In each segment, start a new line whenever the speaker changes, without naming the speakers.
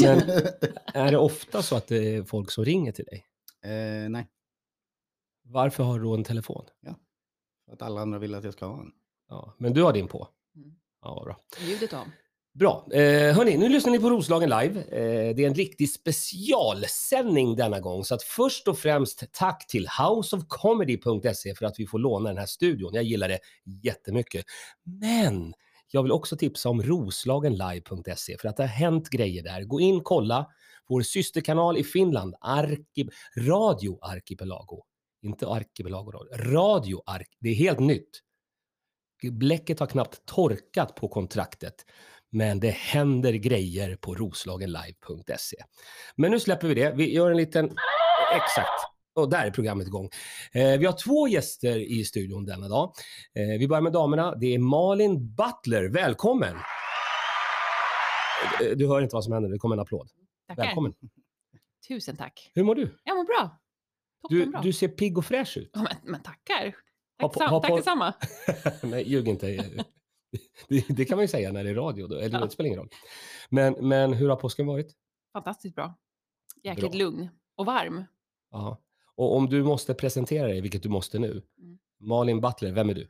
Men är det ofta så att det är folk som ringer till dig?
Eh, nej,
Varför har du då en telefon?
för att alla andra vill att jag ska ha en.
Ja, men du har din på?
Mm.
Ja, vad bra.
Ljudet av.
Bra. Eh, hörni, nu lyssnar ni på Roslagen live. Eh, det är en riktig specialsändning denna gång. Så att först och främst tack till houseofcomedy.se för att vi får låna den här studion. Jag gillar det jättemycket. Men jag vill också tipsa om roslagenlive.se för att det har hänt grejer där. Gå in, kolla. Vår systerkanal i Finland, Arkib- Radio Arkipelago. Inte Arkipelago Radio. Radio Ark. Det är helt nytt. Bläcket har knappt torkat på kontraktet men det händer grejer på roslagenlive.se. Men nu släpper vi det. Vi gör en liten... Exakt. Och där är programmet igång. Eh, vi har två gäster i studion denna dag. Eh, vi börjar med damerna. Det är Malin Butler. Välkommen! Eh, Du hör inte vad som händer. Det kommer en applåd.
Tackar.
Välkommen.
Tusen tack.
Hur mår du?
Jag mår bra. Toppen
Du,
bra.
du ser pigg och fräsch ut.
Ja, men, men tackar.
Ha
Tack,
på-
sam-
ha
tack
på-
detsamma.
Nej, ljug inte. Det, det kan man ju säga när det är radio. Då. Eller
Ja.
det spelar ingen roll. Men, men hur har påsken varit?
Fantastiskt bra. Jäkligt
Bra.
lugn och varm.
Ja. Och om du måste presentera dig, vilket du måste nu.
Mm.
Malin Butler, vem är du?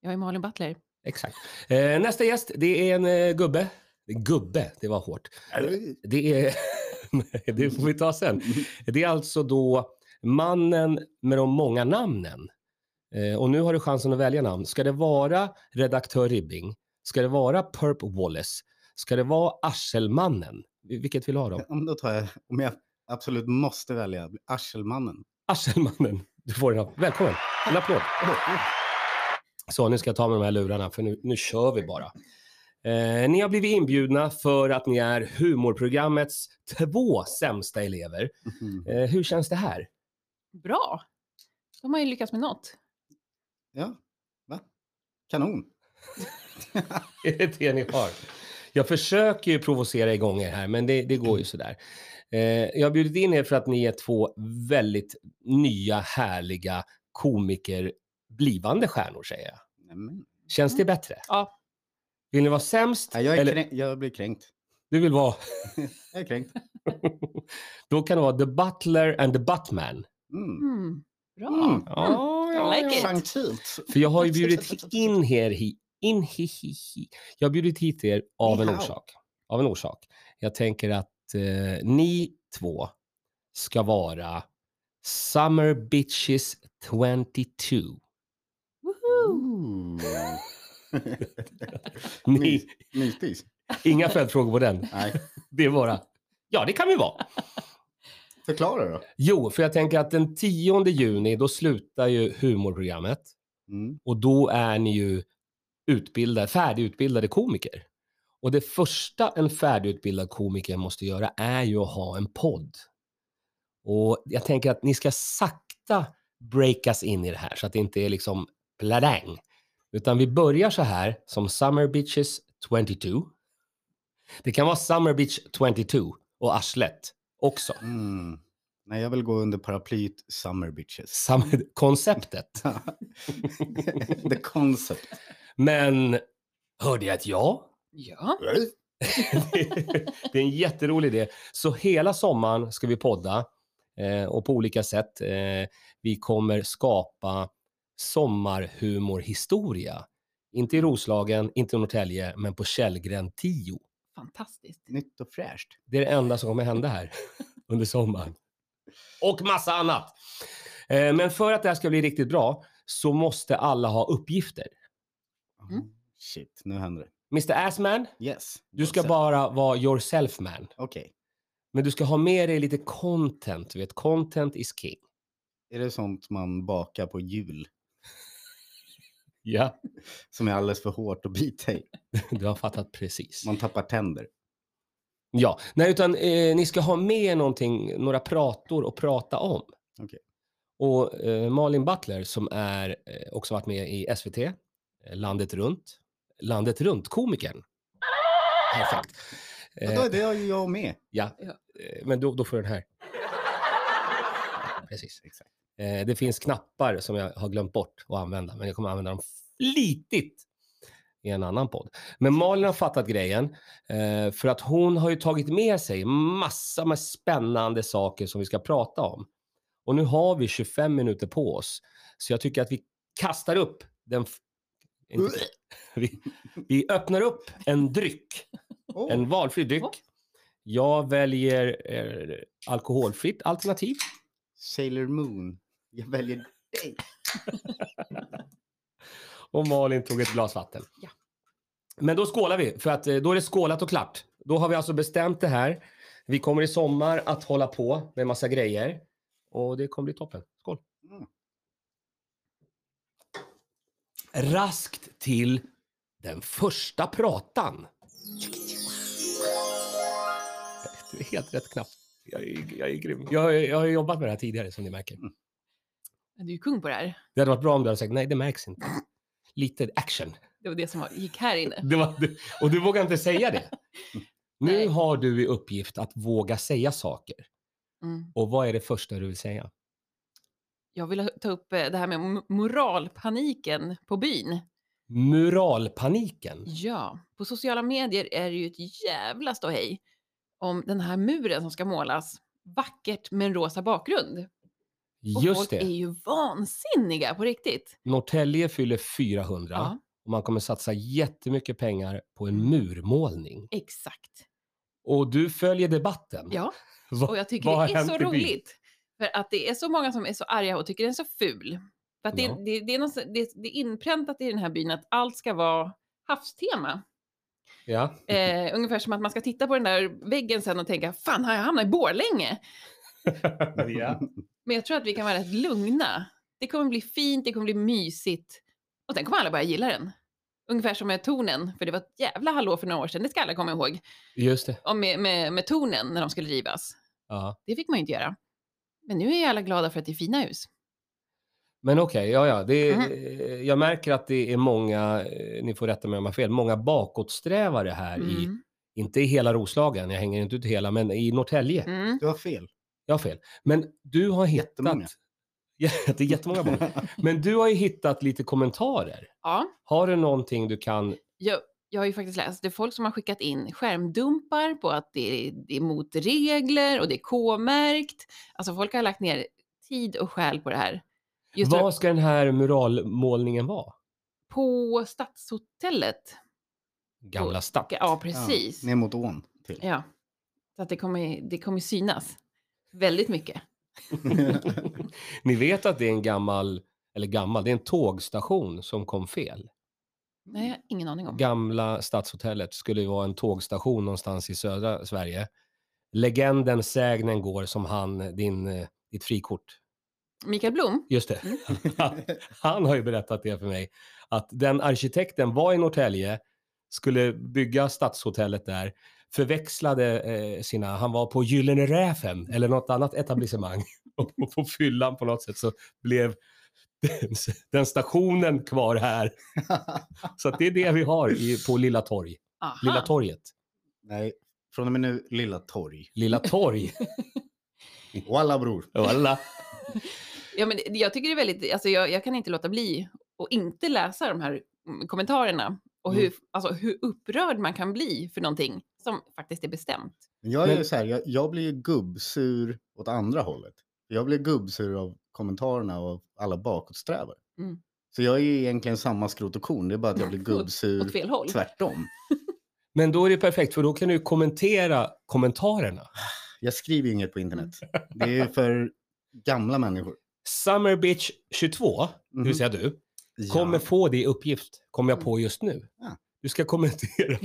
Jag är Malin Butler.
Exakt. Eh, nästa gäst, det är en eh, gubbe. Gubbe, det var hårt. Det är... Nej, det får vi ta sen. Det är alltså då mannen med de många namnen. Eh, och nu har du chansen att välja namn. Ska det vara redaktör Ribbing? Ska det vara Perp Wallace? Ska det vara Arselmannen? Vil- Vilket vill du ha då?
Om, då tar jag, om jag absolut måste välja, Arselmannen.
Arselmannen, du får en app- Välkommen, en applåd. Så, nu ska jag ta med de här lurarna, för nu, nu kör vi bara. Eh, ni har blivit inbjudna för att ni är humorprogrammets två sämsta elever.
Mhm.
Eh, hur känns det här?
Bra. Då har man ju lyckats med något.
Ja, va? Kanon.
Är det det ni har? Jag försöker ju provocera igång er här, men det, det går ju sådär. Eh, jag har bjudit in er för att ni är två väldigt nya, härliga komiker, blivande stjärnor säger jag.
Nämen.
Känns det bättre?
Mm. Ja.
Vill ni vara sämst?
Nej, jag, är
Eller-
kränkt, jag blir kränkt.
Du vill vara...
Jag är kränkt.
Då kan det vara The Butler and the Buttman.
Mm.
Mm. Bra.
Mm.
Ja,
ja, I like it.
Gentilt.
För jag har ju bjudit in er hit. In, hi, hi, hi. Jag har bjudit hit er av en
Ni hao.
orsak. Av en orsak. Jag tänker att eh, ni två ska vara Summer Bitches 22.
Woho!
Ooh.
Ni,
Nitis?
inga följdfrågor på den.
Nej.
Det är bara... Ja, det kan vi vara.
Förklara då.
Jo, för jag tänker att den 10 juni, då slutar ju humorprogrammet.
Mm.
Och då är ni ju utbildade, färdigutbildade komiker. Och det första en färdigutbildad komiker måste göra är ju att ha en podd. Och jag tänker att ni ska sakta breakas in i det här så att det inte är liksom pladang. Utan vi börjar så här som Summer Beaches 22. Det kan vara Summer Beach 22 och arslet också.
Mm. Nej, jag vill gå under paraplyet Summer Bitches.
Sam- konceptet.
The concept.
Men hörde jag ett ja?
Ja,
det är en jätterolig idé. Så hela sommaren ska vi podda eh, och på olika sätt. Eh, vi kommer skapa sommarhumorhistoria. Inte i Roslagen, inte i Norrtälje, men på Källgren 10.
fantastiskt.
Nytt och fräscht.
Det är det enda som kommer hända här under sommaren. Och massa annat. Eh, men för att det här ska bli riktigt bra så måste alla ha uppgifter.
Mm.
Shit, nu händer det.
Mr Assman,
Yes.
du ska
Så-
bara vara yourself man.
Okej.
Men du ska ha med dig lite content. Du vet, content is king.
Är det sånt man bakar på jul
Ja.
som är alldeles för hårt att bita i?
Du har fattat precis.
Man tappar tänder.
Ja, nej utan eh, ni ska ha med någonting, några prator att prata om.
Okej.
Och eh, Malin Butler som är eh, också varit med i SVT, eh, Landet runt, Landet runt-komikern. Perfekt.
Ja,
Eh,
då är det har ju jag med.
Ja,
Ja.
eh, men då, då får du den här. Precis.
Exakt.
Eh, det finns knappar som jag har glömt bort att använda, men jag kommer använda dem flitigt i en annan podd. Men Malin har fattat grejen eh, för att hon har ju tagit med sig massa med spännande saker som vi ska prata om. Och nu har vi 25 minuter på oss så jag tycker att vi kastar upp den... f- inte- vi, vi öppnar upp en dryck,
Åh,
en valfri dryck.
Åh.
Jag väljer eh, alkoholfritt alternativ.
Sailor Moon. Jag väljer dig.
Och Malin tog ett glas vatten.
Ja.
Men då skålar vi, för att eh, då är det skålat och klart. Då har vi alltså bestämt det här. Vi kommer i sommar att hålla på med massa grejer. Och det kommer bli toppen. Skål!
Mm.
Raskt till den första pratan. Det är helt rätt knapp. Jag är, jag är grym. Jag, jag har jobbat med det här tidigare som ni märker.
Men Du är ju kung på det här.
Det hade varit bra om du hade sagt nej, det märks inte. Lite action.
Det var det som var, gick här inne.
Det var, du- och du vågar inte säga det. Nu
Nej.
har du i uppgift att våga säga saker.
Mm.
Och vad är det första du vill säga?
Jag vill ta upp eh, det här med mo- moralpaniken på byn.
Muralpaniken.
Ja, på sociala medier är det ju ett jävla ståhej om den här muren som ska målas vackert med en rosa bakgrund. Och
Just
folk är
det.
ju vansinniga på riktigt.
Norrtälje fyller 400
Ja, Mm.
och man kommer satsa jättemycket pengar på en murmålning.
exakt.
Och du följer debatten.
Ja,
Va-
och jag tycker
vad har
det är
hänt
så
i byn?
roligt. För att det är så många som är så arga och tycker den är så ful. För att det,
Ja.
det, det, är något, det, det är inpräntat i den här byn att allt ska vara havstema.
Ja.
Eh, ungefär som att man ska titta på den där väggen sen och tänka, fan har jag hamnat i Borlänge?
ja.
Men jag tror att vi kan vara rätt lugna. Det kommer bli fint, det kommer bli mysigt. Och sen kommer alla börja gilla den. Ungefär som med tornen, för det var ett jävla hallå för några år sedan, det ska alla komma ihåg.
Just det.
Om med, med, med tornen när de skulle rivas.
Ja.
Det fick man ju inte göra. Men nu är ju alla glada för att det är fina hus.
Men okej, ja, ja. Det är,
Mm-hmm.
eh, Jag märker att det är många, eh, ni får rätta mig om jag har fel, många bakåtsträvare här i
Mm.
inte i hela Roslagen, jag hänger inte ut hela, men i Norrtälje.
Mm.
Du har fel.
Jag har fel. Men du har hittat...
Jättemånga.
Ja, det är jättemånga barn. Men du har ju hittat lite kommentarer.
Ja,
Har du någonting du kan...
jag, jag har ju faktiskt läst, det är folk som har skickat in skärmdumpar på att det är, det är mot regler och det är K-märkt. Alltså folk har lagt ner tid och själ på det här. Just för-
Vad ska den här muralmålningen vara?
på Stadshotellet
Gamla Stadt.
Mm. Ja, precis.
Ja,
Ja,
ner mot ån. Till.
Så att det kommer, det kommer synas väldigt mycket.
Ni vet att det är en gammal, eller gammal, det är en tågstation som kom fel.
Nej, jag har ingen aning om.
Gamla Stadshotellet skulle ju vara en tågstation någonstans i södra Sverige. Legenden, sägnen går som han, din, eh, ditt frikort
Mikael Blom?
Just det. Han har ju berättat det för mig. Att den arkitekten var i Norrtälje, skulle bygga stadshotellet där, förväxlade eh, sina, han var på Gyllene Räfen eller något annat etablissemang. Och på, på fyllan på något sätt så blev den, den stationen kvar här. Så att det är det vi har i, på Lilla Torg.
Aha.
Lilla Torget.
Nej, från och med nu Lilla Torg.
Lilla Torg.
Och alla bror.
Och alla-
Ja, men det- jag tycker det är väldigt, alltså jag, jag kan inte låta bli och inte läsa de här mm, kommentarerna och
Mm.
hur, alltså, hur upprörd man kan bli för någonting som faktiskt är bestämt.
Men jag är
Men-
ju så här, jag, jag blir ju gubbsur åt andra hållet. Jag blir gubbsur av kommentarerna och av alla bakåtsträvare.
Mm.
Så jag är ju egentligen samma skrot och korn, det är bara att jag blir
Åt
Mm.
gubbsur
fel håll.
tvärtom.
Men då är det perfekt, för då kan du kommentera kommentarerna.
Jag skriver ju inget på internet.
Mm.
Det är ju för gamla människor.
Summer Beach 22, det
Mhm.
vill säga du,
Ja.
kommer få det i uppgift, kommer jag
Mm.
på just nu.
Ja.
Du ska kommentera.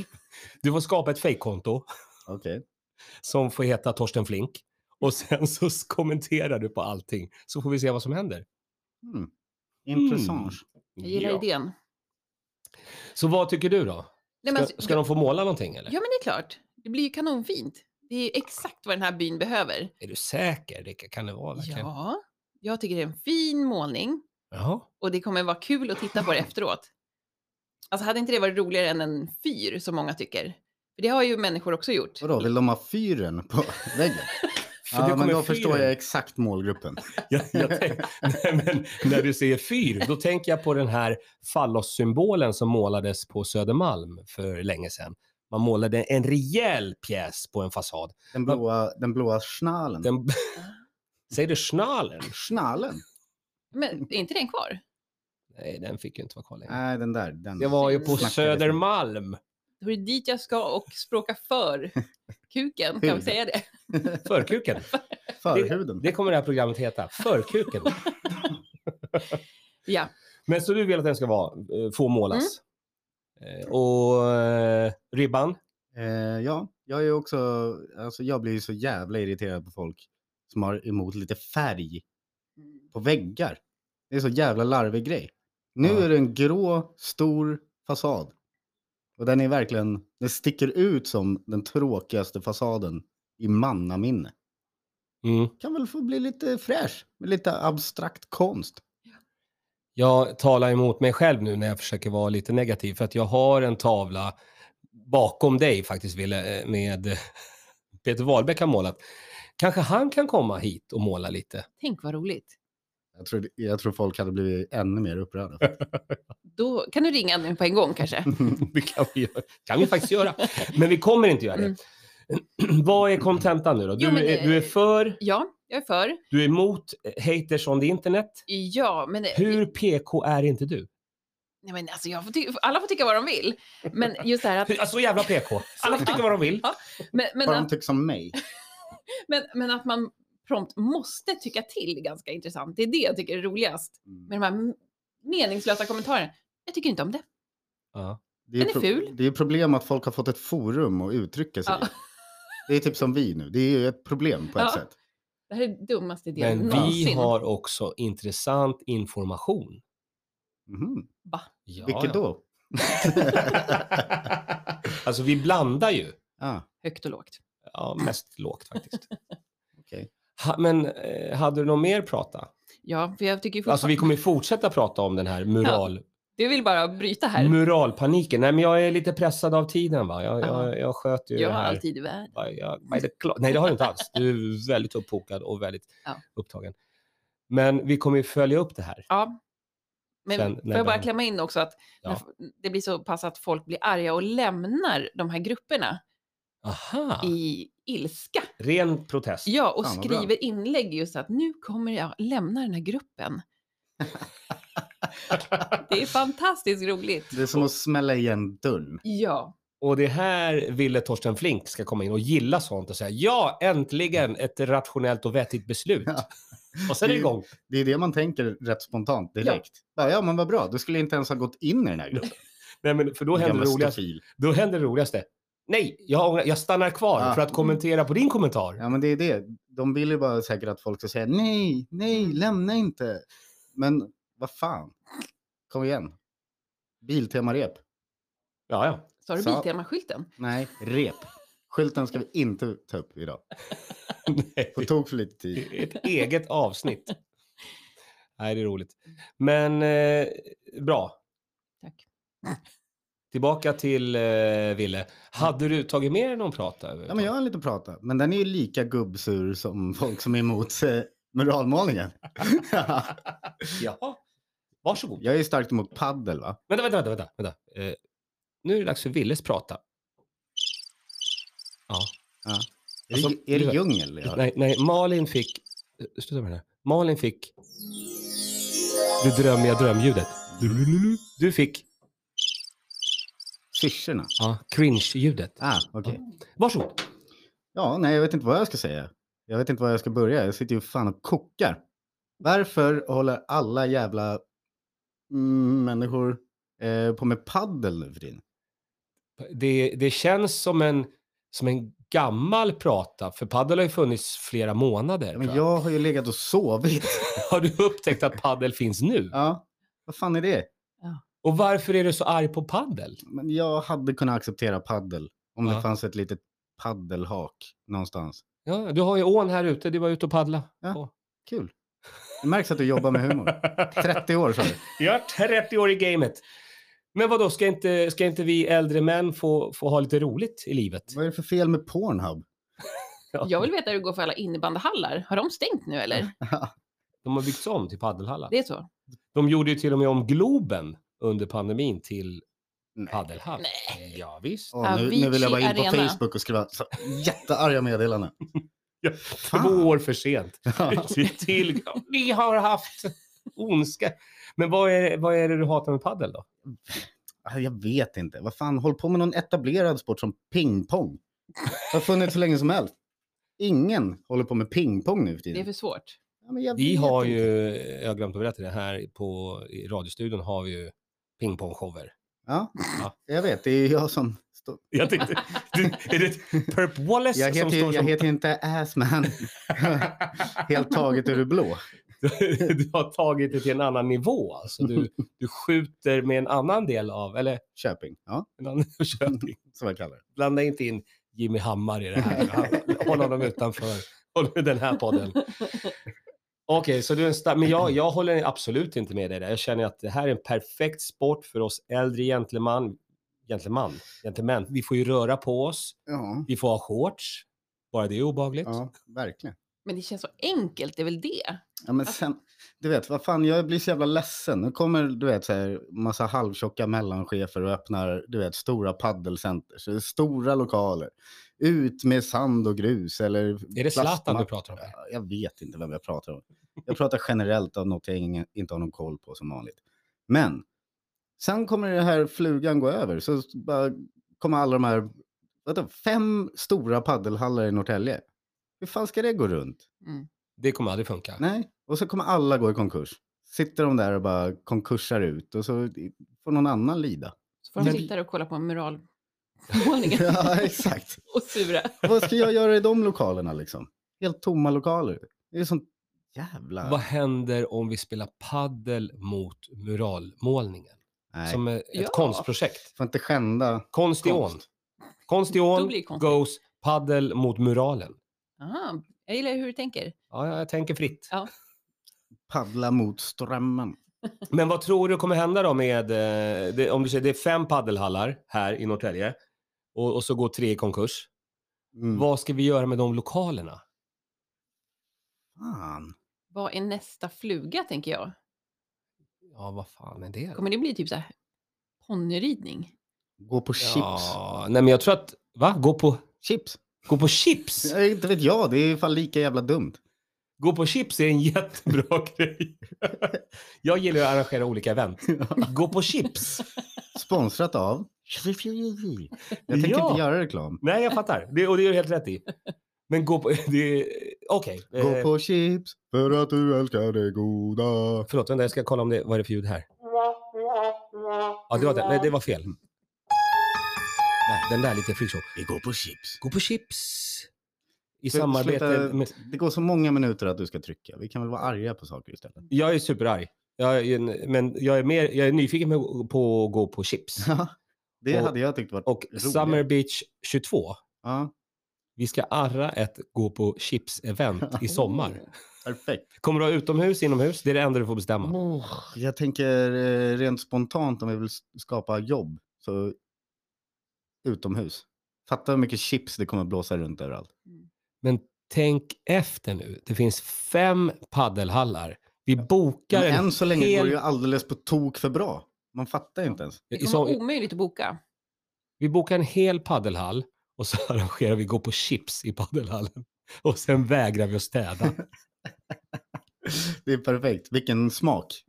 Du får skapa ett fejkkonto
Okej.
som får heta Torsten Flink. Och sen så s- kommenterar du på allting, så får vi se vad som händer.
Mm. Intressant.
Jag gillar
Ja.
idén.
Så vad tycker du då?
Nej, men,
Ska,
alltså,
ska de få måla någonting eller?
Ja, men det är klart. Det blir ju kanonfint. Det är ju exakt vad den här byn behöver.
Är du säker? Det kan- kan det vara? verkligen?
Ja, jag tycker det är en fin målning.
Jaha.
och det kommer vara kul att titta på det efteråt. Alltså hade inte det varit roligare än en fyr som många tycker? För det har ju människor också gjort.
Vadå, vill de ha fyren på väggen?
För
Ja,
nu
men
kommer
då
fyren.
förstår jag exakt målgruppen.
Jag, jag tänk, nej, men när du säger fyr, då tänker jag på den här fallossymbolen som målades på Södermalm för länge sedan. Man målade en rejäl pjäs på en fasad.
Den
Vad-
blåa, den blåa schnalen.
Den, säger du schnalen?
Schnalen?
Men är inte den kvar?
Nej, den fick ju inte vara kvar längre.
Nej, den där. Den.
Jag var ju på
Snackades
Södermalm
Då är det dit jag ska och språka för kuken, kan vi säga det?
förkuken.
Förhuden.
Det kommer det här programmet heta, förkuken.
Ja,
Men så du vill att den ska vara, eh, få målas. Eh, Och eh, ribban?
Eh, ja, jag är också, alltså jag blir ju så jävla irriterad på folk som har emot lite färg
Mm,
på väggar. Det är så jävla larvig grej. Nu
Ja.
är det en grå, stor fasad. Och den är verkligen, den sticker ut som den tråkigaste fasaden i mannaminne.
Mm.
Kan väl få bli lite fräsch, med lite abstrakt konst.
Jag talar emot mig själv nu när jag försöker vara lite negativ för att jag har en tavla bakom dig faktiskt, Wille, eh, med eh, Peter Wahlbeck har målat. Kanske han kan komma hit och måla lite.
tänk vad roligt.
Jag tror, jag tror folk hade blivit ännu mer upprörda.
Då kan du ringa nu på en gång kanske.
Det kan vi, göra. kan vi faktiskt göra. Men vi kommer inte göra det. Vad är kontentan nu då? Du,
Mm. Jo, men,
är, du är
eh,
för,
Ja, jag är för.
du är emot eh, haters on the internet.
Ja, men, eh,
Hur PK är inte du?
Nej, men alltså, jag får ty- alla får tycka vad de vill. Men just det här att...
Hur- alltså, Så jävla PK. Alla får tycka vad de vill.
Men, men,
Bara de
att,
tycker som mig.
men, men att man prompt måste tycka till är ganska intressant. Det är det jag tycker är roligast.
Mm.
Med de här meningslösa kommentarerna. Jag tycker inte om det.
Ja.
Det är,
Den är
pro-
ful.
Det är problem att folk har fått ett forum att uttrycka sig
Ja.
i. Det är typ som vi nu. Det är ju ett problem på ett
Ja.
sätt.
Det här är dummaste idén
Men vi
någonsin.
har också intressant information.
Mhm.
Va?
Ja,
Vilket
ja.
då?
alltså vi blandar ju.
Ah,
Högt och lågt.
Ja, mest lågt faktiskt.
Okej.
ha, men eh, hade du något mer att prata?
Ja, för jag tycker ju fortfarande...
Alltså vi kommer ju fortsätta prata om den här mural,
Du vill bara bryta här.
muralpaniken. Nej, men jag är lite pressad av tiden va. Jag,
Ja.
jag, jag sköter ju
Jag
det
har
här.
alltid i världen.
By, ja, by the clock. Nej, det har du inte alls. Du är väldigt uppbokad och väldigt
Ja.
upptagen. Men vi kommer ju följa upp det här.
Ja. Men
Sen
får
när
jag bara
den-
klämma in också att
Ja.
när f- det blir så pass att folk blir arga och lämnar de här grupperna
Aha,
i ilska.
ren protest.
Ja, och
Fan, vad bra.
skriver inlägg just att nu kommer jag lämna den här gruppen. det är fantastiskt roligt.
det är som att smälla igen dörren.
Ja,
Och det här ville Torsten Flink ska komma in och gilla sånt och säga ja, äntligen ett rationellt och vettigt beslut.
Ja.
Och sen är det igång.
Det är det man tänker rätt spontant direkt. Ja, ja, men vad bra. Då skulle jag inte ens ha gått in i den här gruppen.
Nej, men för då händer,
Gamla
det roligaste,
stofil.
då händer det roligaste. Nej, jag, ångrar- jag stannar kvar
Ja.
för att kommentera på din kommentar.
Ja, men det är det. De vill ju bara säkert att folk ska säga nej, nej,
Mm.
lämna inte. Men vad fan. Kom igen. Biltemarep.
Ja, ja.
sa du
Så-
Biltema-skylten?
Nej, rep. Skylten ska vi inte ta upp idag.
Nej,
På tok för lite tid.
det är ett eget avsnitt. Nej, det är roligt. Men eh, bra,
Tack.
tillbaka till eh, Ville. Hade du tagit med dig någon prata?
Ja, men jag har en liten prata, men den är ju lika gubbsur som folk som är emot eh, muralmålningen.
Jaha. Varsågod.
jag är ju starkt emot paddel va?
Vänta, vänta, vänta. vänta, vänta. Eh, nu är det dags för Willes prata. Ja.
Är,
Alltså,
det, är det
du-
djungel? Ja.
Nej, nej, Malin fick... eh, Sluta med det här. Malin fick... Det drömmiga drömljudet. Du fick...
Syrsorna?
Ja, cringe-ljudet.
Ah, okej.
Varsågod.
Ja, nej, jag vet inte vad jag ska säga. Jag vet inte var jag ska börja. Jag sitter ju fan och kokar. Varför håller alla jävla mm, människor eh, på med paddel nu för tiden?
Det, det känns som en, som en gammal prata, för padel har ju funnits flera månader.
Ja, men
tror jag...
jag har ju legat och sovit.
Har du upptäckt att padel finns nu?
Ja, vad fan är det?
Och varför är du så arg på padel?
Men jag hade kunnat acceptera paddel om
Ja.
det fanns ett litet paddelhak någonstans.
Ja, du har ju ån här ute, du var ute och paddla.
Ja.
på.
Kul. Det märks att du jobbar med humor. 30 år sa du.
Jag är 30 år i gamet. Men vad då ska inte, ska inte vi äldre män få, få ha lite roligt i livet?
Vad är det för fel med Pornhub?
Jag vill veta hur det går för alla innebandyhallar. Har de stängt nu eller?
De har byggts om till paddelhallar.
Det är så?
De gjorde ju till och med om Globen under pandemin till
Nej.
paddelhall. Nej. Ja, visst.
Åh, nu, nu vill jag bara in på
Avicii Arena.
Facebook och skriva så, jättearga meddelanden.
Ja, Två
Fan.
år för sent. Till- till, vi har haft ondska. Men vad är, vad är det du hatar med paddel då?
Ah, Jag vet inte. Vad fan, håll på med någon etablerad sport som pingpong. Det har funnits så länge som helst. Ingen håller på med pingpong nu för
Det är
tiden.
för svårt.
Ja, men jag
Vi
vet
har
inte.
ju, jag har glömt att berätta det, här på i radiostudion har vi ju pingpongshower.
Ja,
Ja.
jag vet. Det är ju jag som... står-
Jag tänkte, du, är det Perp Wallace
Jag
som
heter,
står
ju- jag
som...
heter ju inte Assman. Helt taget ur det blå.
du har tagit det till en annan nivå alltså. Du, du skjuter med en annan del av, eller
Köping. Ja,
en annan Köping.
som jag kallar det.
Blanda inte in Jimmy Hammar i det här. Han- Håll honom utanför. Håll med den här podden. Okej, så du är en sta- Men jag, jag håller absolut inte med dig där. Jag känner att det här är en perfekt sport för oss äldre gentleman. Gentleman? Gentleman. Vi får ju röra på oss.
Ja,
Vi får ha shorts. Bara det är obehagligt.
ja verkligen.
Men det känns så enkelt, det är väl det?
Ja, men sen, du vet, vad fan, jag blir så jävla ledsen. Nu kommer, du vet, så här, massa halvtjocka mellanchefer och öppnar, du vet, stora paddelcenter. Så det är stora lokaler. Ut med sand och grus eller...
Är det Zlatan du pratar om? här?
Ja, Jag vet inte vem jag pratar om. Jag pratar generellt om något jag ingen, inte har någon koll på som vanligt. Men sen kommer det här flugan gå över. Så bara kommer alla de här, vänta, fem stora paddelhallar i Norrtälje. Hur fan ska det gå runt?
Mm.
Det kommer aldrig funka.
Nej, och så kommer alla gå i konkurs. Sitter de där och bara konkursar ut och så får någon annan lida.
Så får de
Men-
sitta där och kolla på muralmålningen
Ja, exakt.
och sura.
Vad ska jag göra i de lokalerna liksom? Helt tomma lokaler. Det är sånt jävla...
Vad händer om vi spelar paddel mot muralmålningen?
Nej,
Som ett
Ja.
konstprojekt.
får inte skända.
Konst i ån.
Konst.
Konst i
Då
ån
blir det konstigt.
goes paddel mot muralen.
Aha, jag gillar hur du tänker.
Ja, jag tänker fritt.
Paddla mot strömmen.
Men vad tror du kommer hända då med, eh, det, om du säger det är fem paddelhallar här i Norrtälje och, och så går tre i konkurs.
Mm.
Vad ska vi göra med de lokalerna?
Fan.
Vad är nästa fluga, tänker jag?
Ja, vad fan är det? då?
Kommer det bli typ så här ponnyridning?
Gå på chips.
Ja, nej men jag tror att, va? Gå på,
Chips?
gå på chips?
Ja, Inte vet jag, det är fan lika jävla dumt.
Gå på chips är en jättebra grej. Jag gillar att arrangera olika event. Gå på chips.
Sponsrat av... Jag tänker
Ja.
inte göra reklam.
Nej, jag fattar. Det, och det är du helt rätt i. Men gå på... det- Okej.
Gå
eh,
på chips för att du älskar det goda.
Förlåt, vänta, jag ska kolla om det, vad är det för ljud här. Ja, det var det. Nej, det var fel. Nej, den där lite freakshow.
Vi går på chips.
Gå på chips. I
Slu-
samarbete
sluta-
med...
Det går så många minuter att du ska trycka. Vi kan väl vara arga på saker istället.
Jag är superarg. Jag är, en- men jag är, mer, jag är nyfiken med- på att gå på chips.
det
Och-
hade jag tyckt varit
Och
roligt.
Summer Beach 22.
Ja,
Vi ska arra ett gå på chips-event i sommar.
perfekt.
Kommer du ha utomhus, inomhus? Det är det enda du får
Mm.
bestämma.
Jag tänker eh, rent spontant om vi vill s- skapa jobb, så utomhus. Fatta hur mycket chips det kommer blåsa runt överallt.
Men tänk efter nu. Det finns fem paddelhallar. Vi bokar
Men än så länge
hel-
går det ju alldeles på tok för bra. Man fattar ju inte ens.
Det
I
kommer
som-
vara omöjligt att boka.
Vi bokar en hel paddelhall och så arrangerar vi gå på chips i paddelhallen. Och sen vägrar vi att städa.
Det är perfekt. Vilken smak.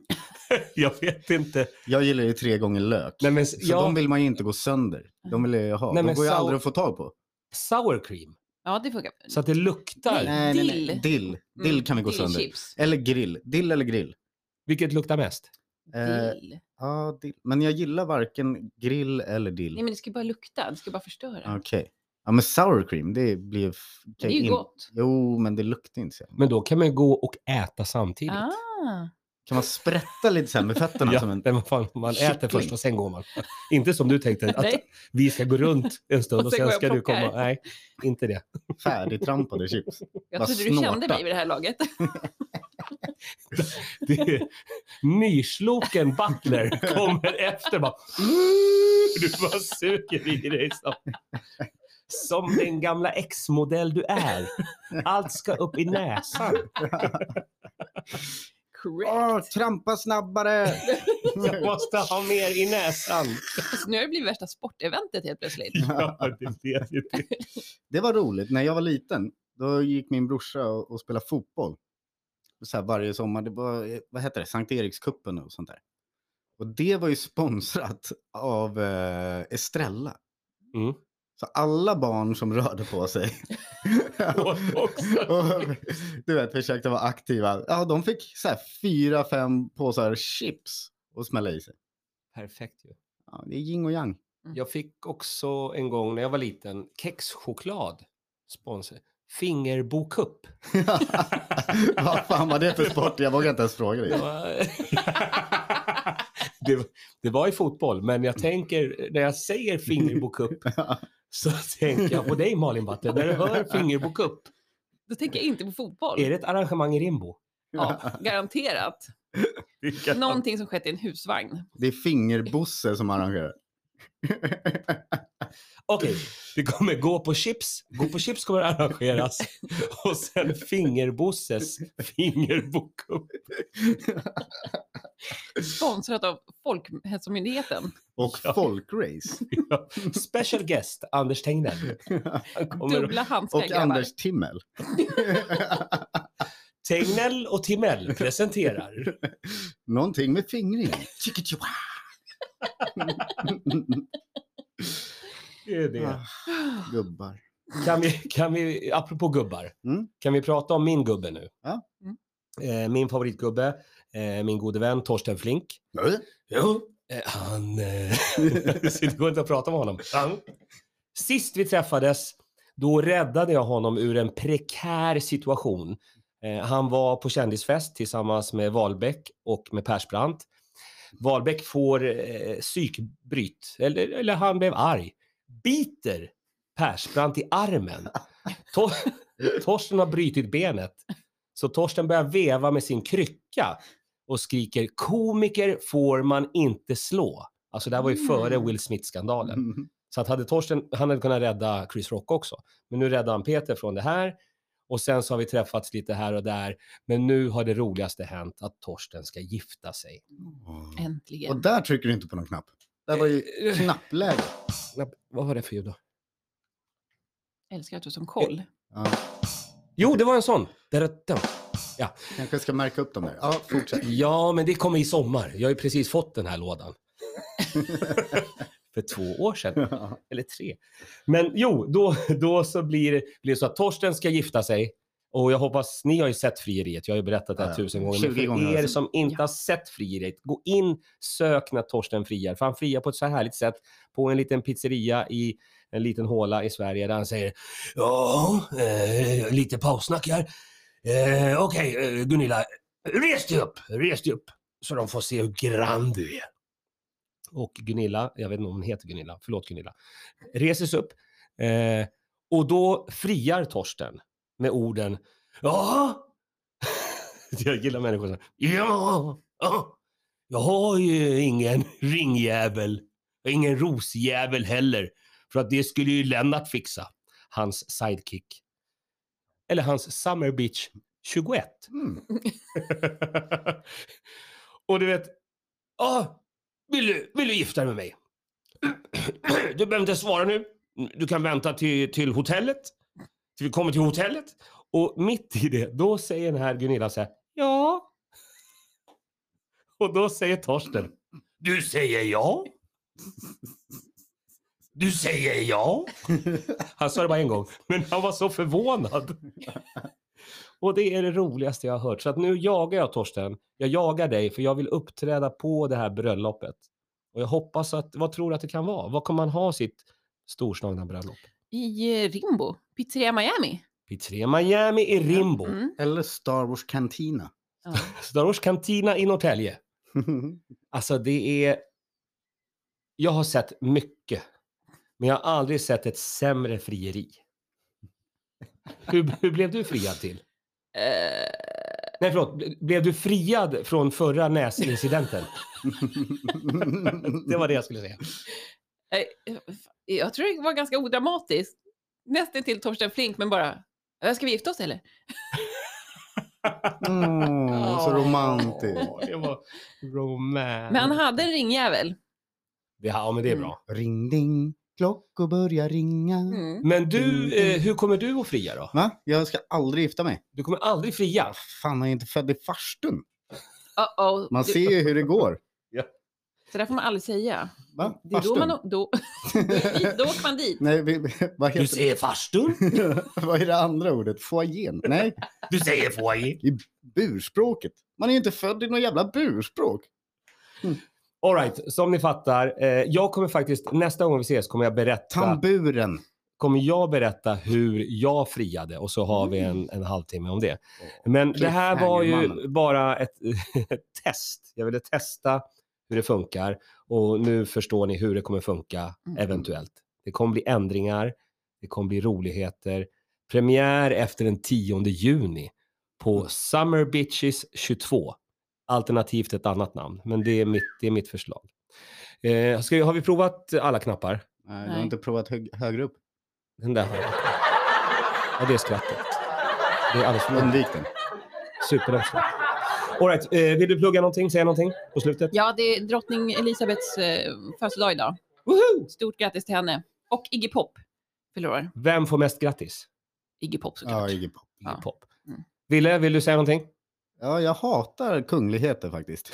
Jag vet inte.
Jag gillar ju tre gånger lök.
Nej men,
Så
ja,
de vill man ju inte gå sönder. De vill jag ju ha.
Nej, men
de går ju
sau-
aldrig att få tag på.
Sour cream.
Ja, det funkar.
Så att det luktar.
Nej. Dill. Mm,
Dill. Dill kan vi gå sönder.
Dillchips.
Eller grill. Dill eller grill.
Vilket luktar mest?
Eh,
Dill.
Ja, dill. Men jag gillar varken grill eller dill.
Nej, men det ska ju bara lukta. Det ska bara förstöra.
Okej. Ja, men sour cream, det blir... ju f-
det är ju
in-
gott.
Jo, men det luktar inte så. jävla-
Men då kan man ju gå och äta samtidigt.
Ah.
Kan man sprätta lite så här med fötterna?
Ja,
som en...
men vad fan, man äter
kyckling.
först och sen går man. Inte som du tänkte, att
Nej.
vi ska gå runt en stund
Och
och
sen
sen,
går jag
ska
och
du komma.
plockar.
Nej, inte det.
Färdigtrampade chips.
Jag
Vad
trodde du
snorta.
kände mig vid det här laget.
det är, nysloken Butler kommer efter bara. Du bara suger i dig. så. Som den gamla X-modell du är. Allt ska upp i näsan.
Correct.
Åh, trampa snabbare!
Jag måste ha mer i näsan.
Så nu har det blivit värsta sporteventet helt plötsligt.
Ja, det vet ju du.
Det var roligt. När jag var liten, då gick min brorsa och, och spelade fotboll. Så här varje sommar. Det var, eh, vad heter det? Sankt Erikscupen och sånt där. Och det var ju sponsrat av eh, Estrella.
Mm.
Så alla barn som rörde på sig
Åt också.
och du vet, försökte vara aktiva. Ja, de fick så här fyra, fem påsar chips och smälla i sig.
Perfekt ju.
Ja, det är yin och yang.
Jag fick också en gång när jag var liten kexchoklad. Sponsor. Fingerbokupp.
Vad fan var det för sport? Jag vågar inte ens fråga
Det
dig.
var- det, det var i fotboll, men jag tänker, när jag säger fingerbokupp så tänker jag på dig Malin Batte. När du hör fingerbokupp,
Då tänker jag inte på fotboll.
är det ett arrangemang i Rimbo?
Ja, garanterat. Någonting som skett i en husvagn.
Det är fingerbosse som arrangerar.
Okej, det kommer gå på chips. Gå på chips kommer att arrangeras. Och sen fingerbosses fingerbokupp.
Sponsrat av Folkhälsomyndigheten.
Och
Ja.
folkrace.
Special guest, Anders Tegnell. Han kommer
Dubbla handskar
Och
grabbar.
Anders Timmel.
Tegnell och Timell presenterar.
Någonting med fingring.
Det är
Ah, Gubbar.
Kan vi, kan vi, apropå gubbar,
Mm.
kan vi prata om min gubbe nu?
Ja.
Mm.
Eh, min favoritgubbe, eh, min gode vän Torsten Flink. Jo. Eh, han... Eh, så det går inte att prata med honom. Han. Sist vi träffades, då räddade jag honom ur en prekär situation. Eh, han var på kändisfest tillsammans med Wahlbeck och med Persbrandt. Wahlbeck får eh, psykbryt, eller, eller han blev arg. Biter Persbrandt i armen. Tor Torsten har brutit benet. Så Torsten börjar veva med sin krycka och skriker komiker får man inte slå. Alltså det här var ju
Mm.
före Will Smith-skandalen. Så att hade Torsten, han hade kunnat rädda Chris Rock också. Men nu räddade han Peter från det här. Och sen så har vi träffats lite här och där. Men nu har det roligaste hänt att Torsten ska gifta sig.
Äntligen.
Och där trycker du inte på någon knapp. Där var
Eh.
ju knappläge.
Knapp- Vad var det för ljud då?
Älskar att du som koll.
Ja,
Jo, det var en sån. Där-
kanske ska märka upp dem där. Ja, fortsätt.
Ja, men det kommer i sommar. Jag har ju precis fått den här lådan. för två år sedan. eller tre. Men jo, då, då så blir det blir det så att Torsten ska gifta sig. Och jag hoppas, ni har ju sett frieriet, jag har ju berättat det här
Ja,
tusen gånger.
20
Men
gånger
för er
alltså.
som inte har sett frieriet, gå in, sök när Torsten friar. För han friar på ett så här härligt sätt på en liten pizzeria i en liten håla i Sverige där han säger Ja, eh, lite paussnack här. Eh, Okej, eh, Gunilla, res dig upp, res dig upp så de får se hur grann du är. Och Gunilla, jag vet inte om hon heter Gunilla, förlåt Gunilla, reser sig upp eh, och då friar Torsten med orden Ja, jag gillar människor som ja, ja, jag har ju ingen ringjävel, och ingen rosjävel heller, för att det skulle ju Lennart fixa, hans sidekick. Eller hans Summer Beach 21.
Mm.
och du vet, ja, vill du, vill du gifta dig med mig? du behöver inte svara nu. Du kan vänta till, till hotellet. Till vi kommer till hotellet. Och mitt i det, då säger den här Gunilla så här, ja. Och då säger Torsten, du säger ja. Du säger ja. Han sa det bara en gång, men han var så förvånad. Och det är det roligaste jag har hört. Så att nu jagar jag Torsten. Jag jagar dig för jag vill uppträda på det här bröllopet. Och jag hoppas att, vad tror du att det kan vara? Vad kommer man ha sitt storslagna bröllop?
I eh, Rimbo, pizzeria Miami.
Pizzeria Miami i Rimbo.
Mm.
Eller Star Wars Cantina.
Ja.
Star Wars Cantina i Norrtälje. Alltså det är... Jag har sett mycket. Men jag har aldrig sett ett sämre frieri. Hur, hur blev du friad till?
Eh,
Nej förlåt, ble- blev du friad från förra näsincidenten? Det var det jag skulle säga.
eh, jag tror det var ganska odramatiskt. nästan till Torsten Flink men bara, "Ja, ska vi gifta oss eller?
Mm, så romantiskt.
Åh, det var romant.
Men han hade en ringjävel.
Det- Ja, men det är bra.
Ring ding, klockor börjar ringa.
Mm.
Men du, eh, hur kommer du att fria då?
Va? Jag ska aldrig gifta mig.
Du kommer aldrig fria.
Fan, jag är inte född i farstun.
Uh-oh.
Man
Du-
ser ju hur det går.
Så där får man aldrig säga.
Va?
Det är då,
Farstun?
man, då, då åker man dit.
Nej, vi, vad
Du
heter
säger farstun,
Vad är det andra ordet? Foajén? Nej,
du säger foyer.
burspråket. Man är ju inte född i något jävla burspråk.
All right, som ni fattar, eh, jag kommer faktiskt, nästa gång vi ses kommer jag berätta,
Tamburen.
kommer jag berätta hur jag friade och så har vi en, en halvtimme om det. Men det här var ju
Cliffhanger-mannen.
bara ett, ett test. Jag ville testa hur det funkar och nu förstår ni hur det kommer funka
Mm.
eventuellt. Det kommer bli ändringar, det kommer bli roligheter. Premiär efter den 10 juni på Summer Bitches 22. Alternativt ett annat namn, men det är mitt, det är mitt förslag. Eh, ska, vi- har vi provat alla knappar?
Nej, du har
Nej.
inte provat hög, högre upp.
Den där har jag. Ja, det är skrattet. Det är alldeles för
Undvik den.
Supernöjd. All right, eh, vill du plugga någonting, säga någonting på slutet?
Ja, det är drottning Elisabeths eh, födelsedag idag.
Woho!
Stort grattis till henne. Och Iggy Pop förlorar.
Vem får mest grattis?
Iggy Pop
Ja,
såklart.
Iggy Pop.
Iggy
Ja.
Pop.
Mm.
Ville, vill du säga någonting?
ja, jag hatar kungligheter faktiskt.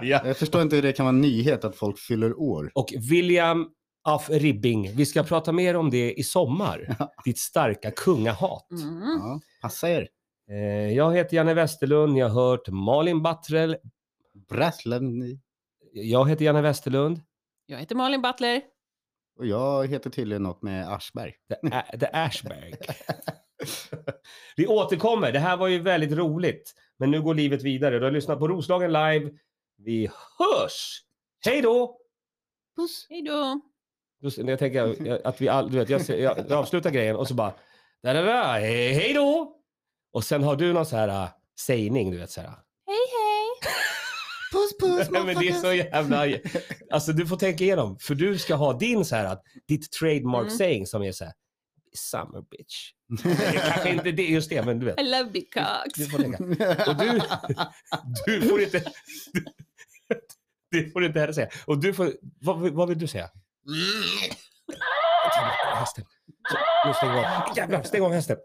ja.
Jag förstår inte hur det kan vara en nyhet att folk fyller år.
Och William af Ribbing, vi ska prata mer om det i sommar. Ditt starka kungahat.
Mm.
Ja, passa er.
Eh, jag heter Janne Westerlund, ni har hört Malin Battrell.
Brasslen
Jag heter Janne Westerlund.
Jag heter Malin Butler.
och jag heter tydligen något med Aschberg.
The, A- the Ashberg. Vi återkommer. Det här var ju väldigt roligt. Men nu går livet vidare. Du har lyssnat på Roslagen live. Vi hörs! Hej då!
Puss!
Hej då.
Då s- Jag tänker jag- jag- att vi all, du vet, jag, ser- jag, jag avslutar grejen och så bara... Da, da, da, hej, hej då! Och sen har du någon så här äh, sägning, du vet så här.
Hej hej.
Puss puss
Men det är så jävla... Alltså du får tänka igenom. För du ska ha din så här, att- ditt trademark
Mm.
saying som är så här. Summer bitch. Det är kanske inte det, just det, men du vet.
I love big cocks.
Du får lägga. Och du, du får inte... Du, du får inte heller säga. Och du får... Vad, vill- vad vill du säga? Hästen. Så, Nu stänger vi av. Jävlar, stäng av hästen.